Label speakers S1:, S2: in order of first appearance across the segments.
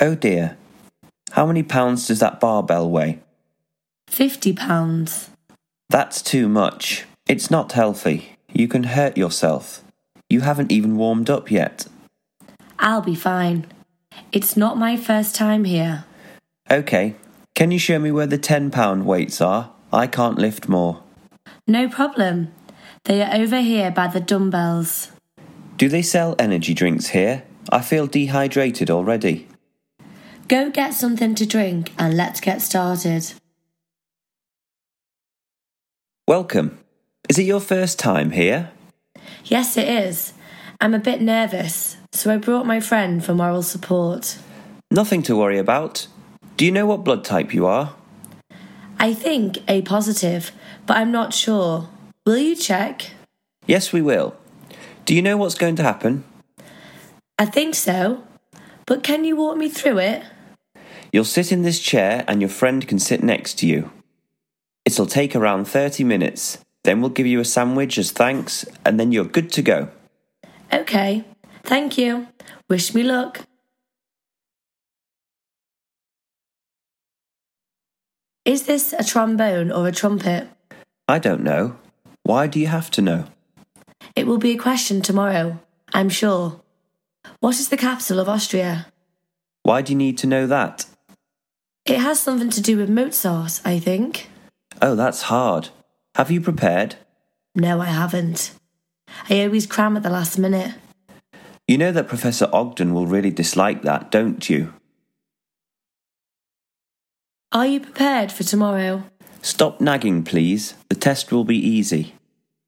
S1: Oh dear. How many pounds does that barbell weigh?
S2: Fifty pounds.
S1: That's too much. It's not healthy. You can hurt yourself. You haven't even warmed up yet.
S2: I'll be fine. It's not my first time here.
S1: Okay. Can you show me where the 10 pound weights are? I can't lift more.
S2: No problem. They are over here by the dumbbells.
S1: Do they sell energy drinks here? I feel dehydrated already.
S2: Go get something to drink and let's get started.
S1: Welcome. Is it your first time here?
S2: Yes, it is. I'm a bit nervous, so I brought my friend for moral support.
S1: Nothing to worry about. Do you know what blood type you are?
S2: I think A positive, but I'm not sure. Will you check?
S1: Yes, we will. Do you know what's going to happen?
S2: I think so. But can you walk me through it?
S1: You'll sit in this chair and your friend can sit next to you. It'll take around 30 minutes. Then we'll give you a sandwich as thanks, and then you're good to go.
S2: Okay. Thank you. Wish me luck. Is this a trombone or a trumpet?
S1: I don't know. Why do you have to know?
S2: It will be a question tomorrow, I'm sure. What is the capital of Austria?
S1: Why do you need to know that?
S2: It has something to do with Mozart, I think.
S1: Oh, that's hard. Have you prepared?
S2: No, I haven't. I always cram at the last minute.
S1: You know that Professor Ogden will really dislike that, don't you?
S2: Are you prepared for tomorrow?
S1: Stop nagging, please. The test will be easy.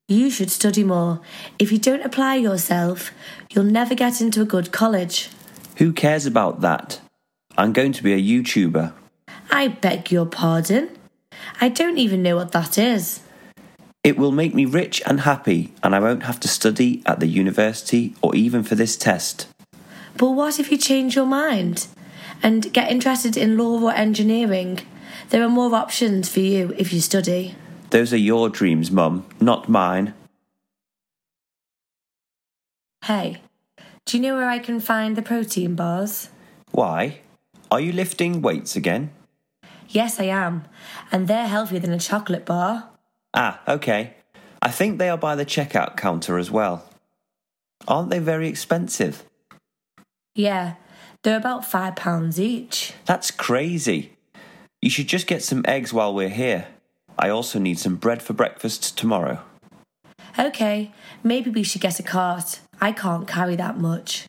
S2: You should study more. If you don't apply yourself, you'll never get into a good college.
S1: Who cares about that? I'm going to be a YouTuber.
S2: I beg your pardon. I don't even know what that is.
S1: It will make me rich and happy, and I won't have to study at the university or even for this test.
S2: But what if you change your mind and get interested in law or engineering? There are more options for you if you study.
S1: Those are your dreams, Mum, not mine.
S2: Hey, do you know where I can find the protein bars?
S1: Why? Are you lifting weights again?
S2: Yes, I am, and they're healthier than a chocolate bar.
S1: Ah, okay. I think they are by the checkout counter as well. Aren't they very expensive?
S2: Yeah, they're about five pounds each.
S1: That's crazy. You should just get some eggs while we're here. I also need some bread for breakfast tomorrow.
S2: Okay, maybe we should get a cart. I can't carry that much.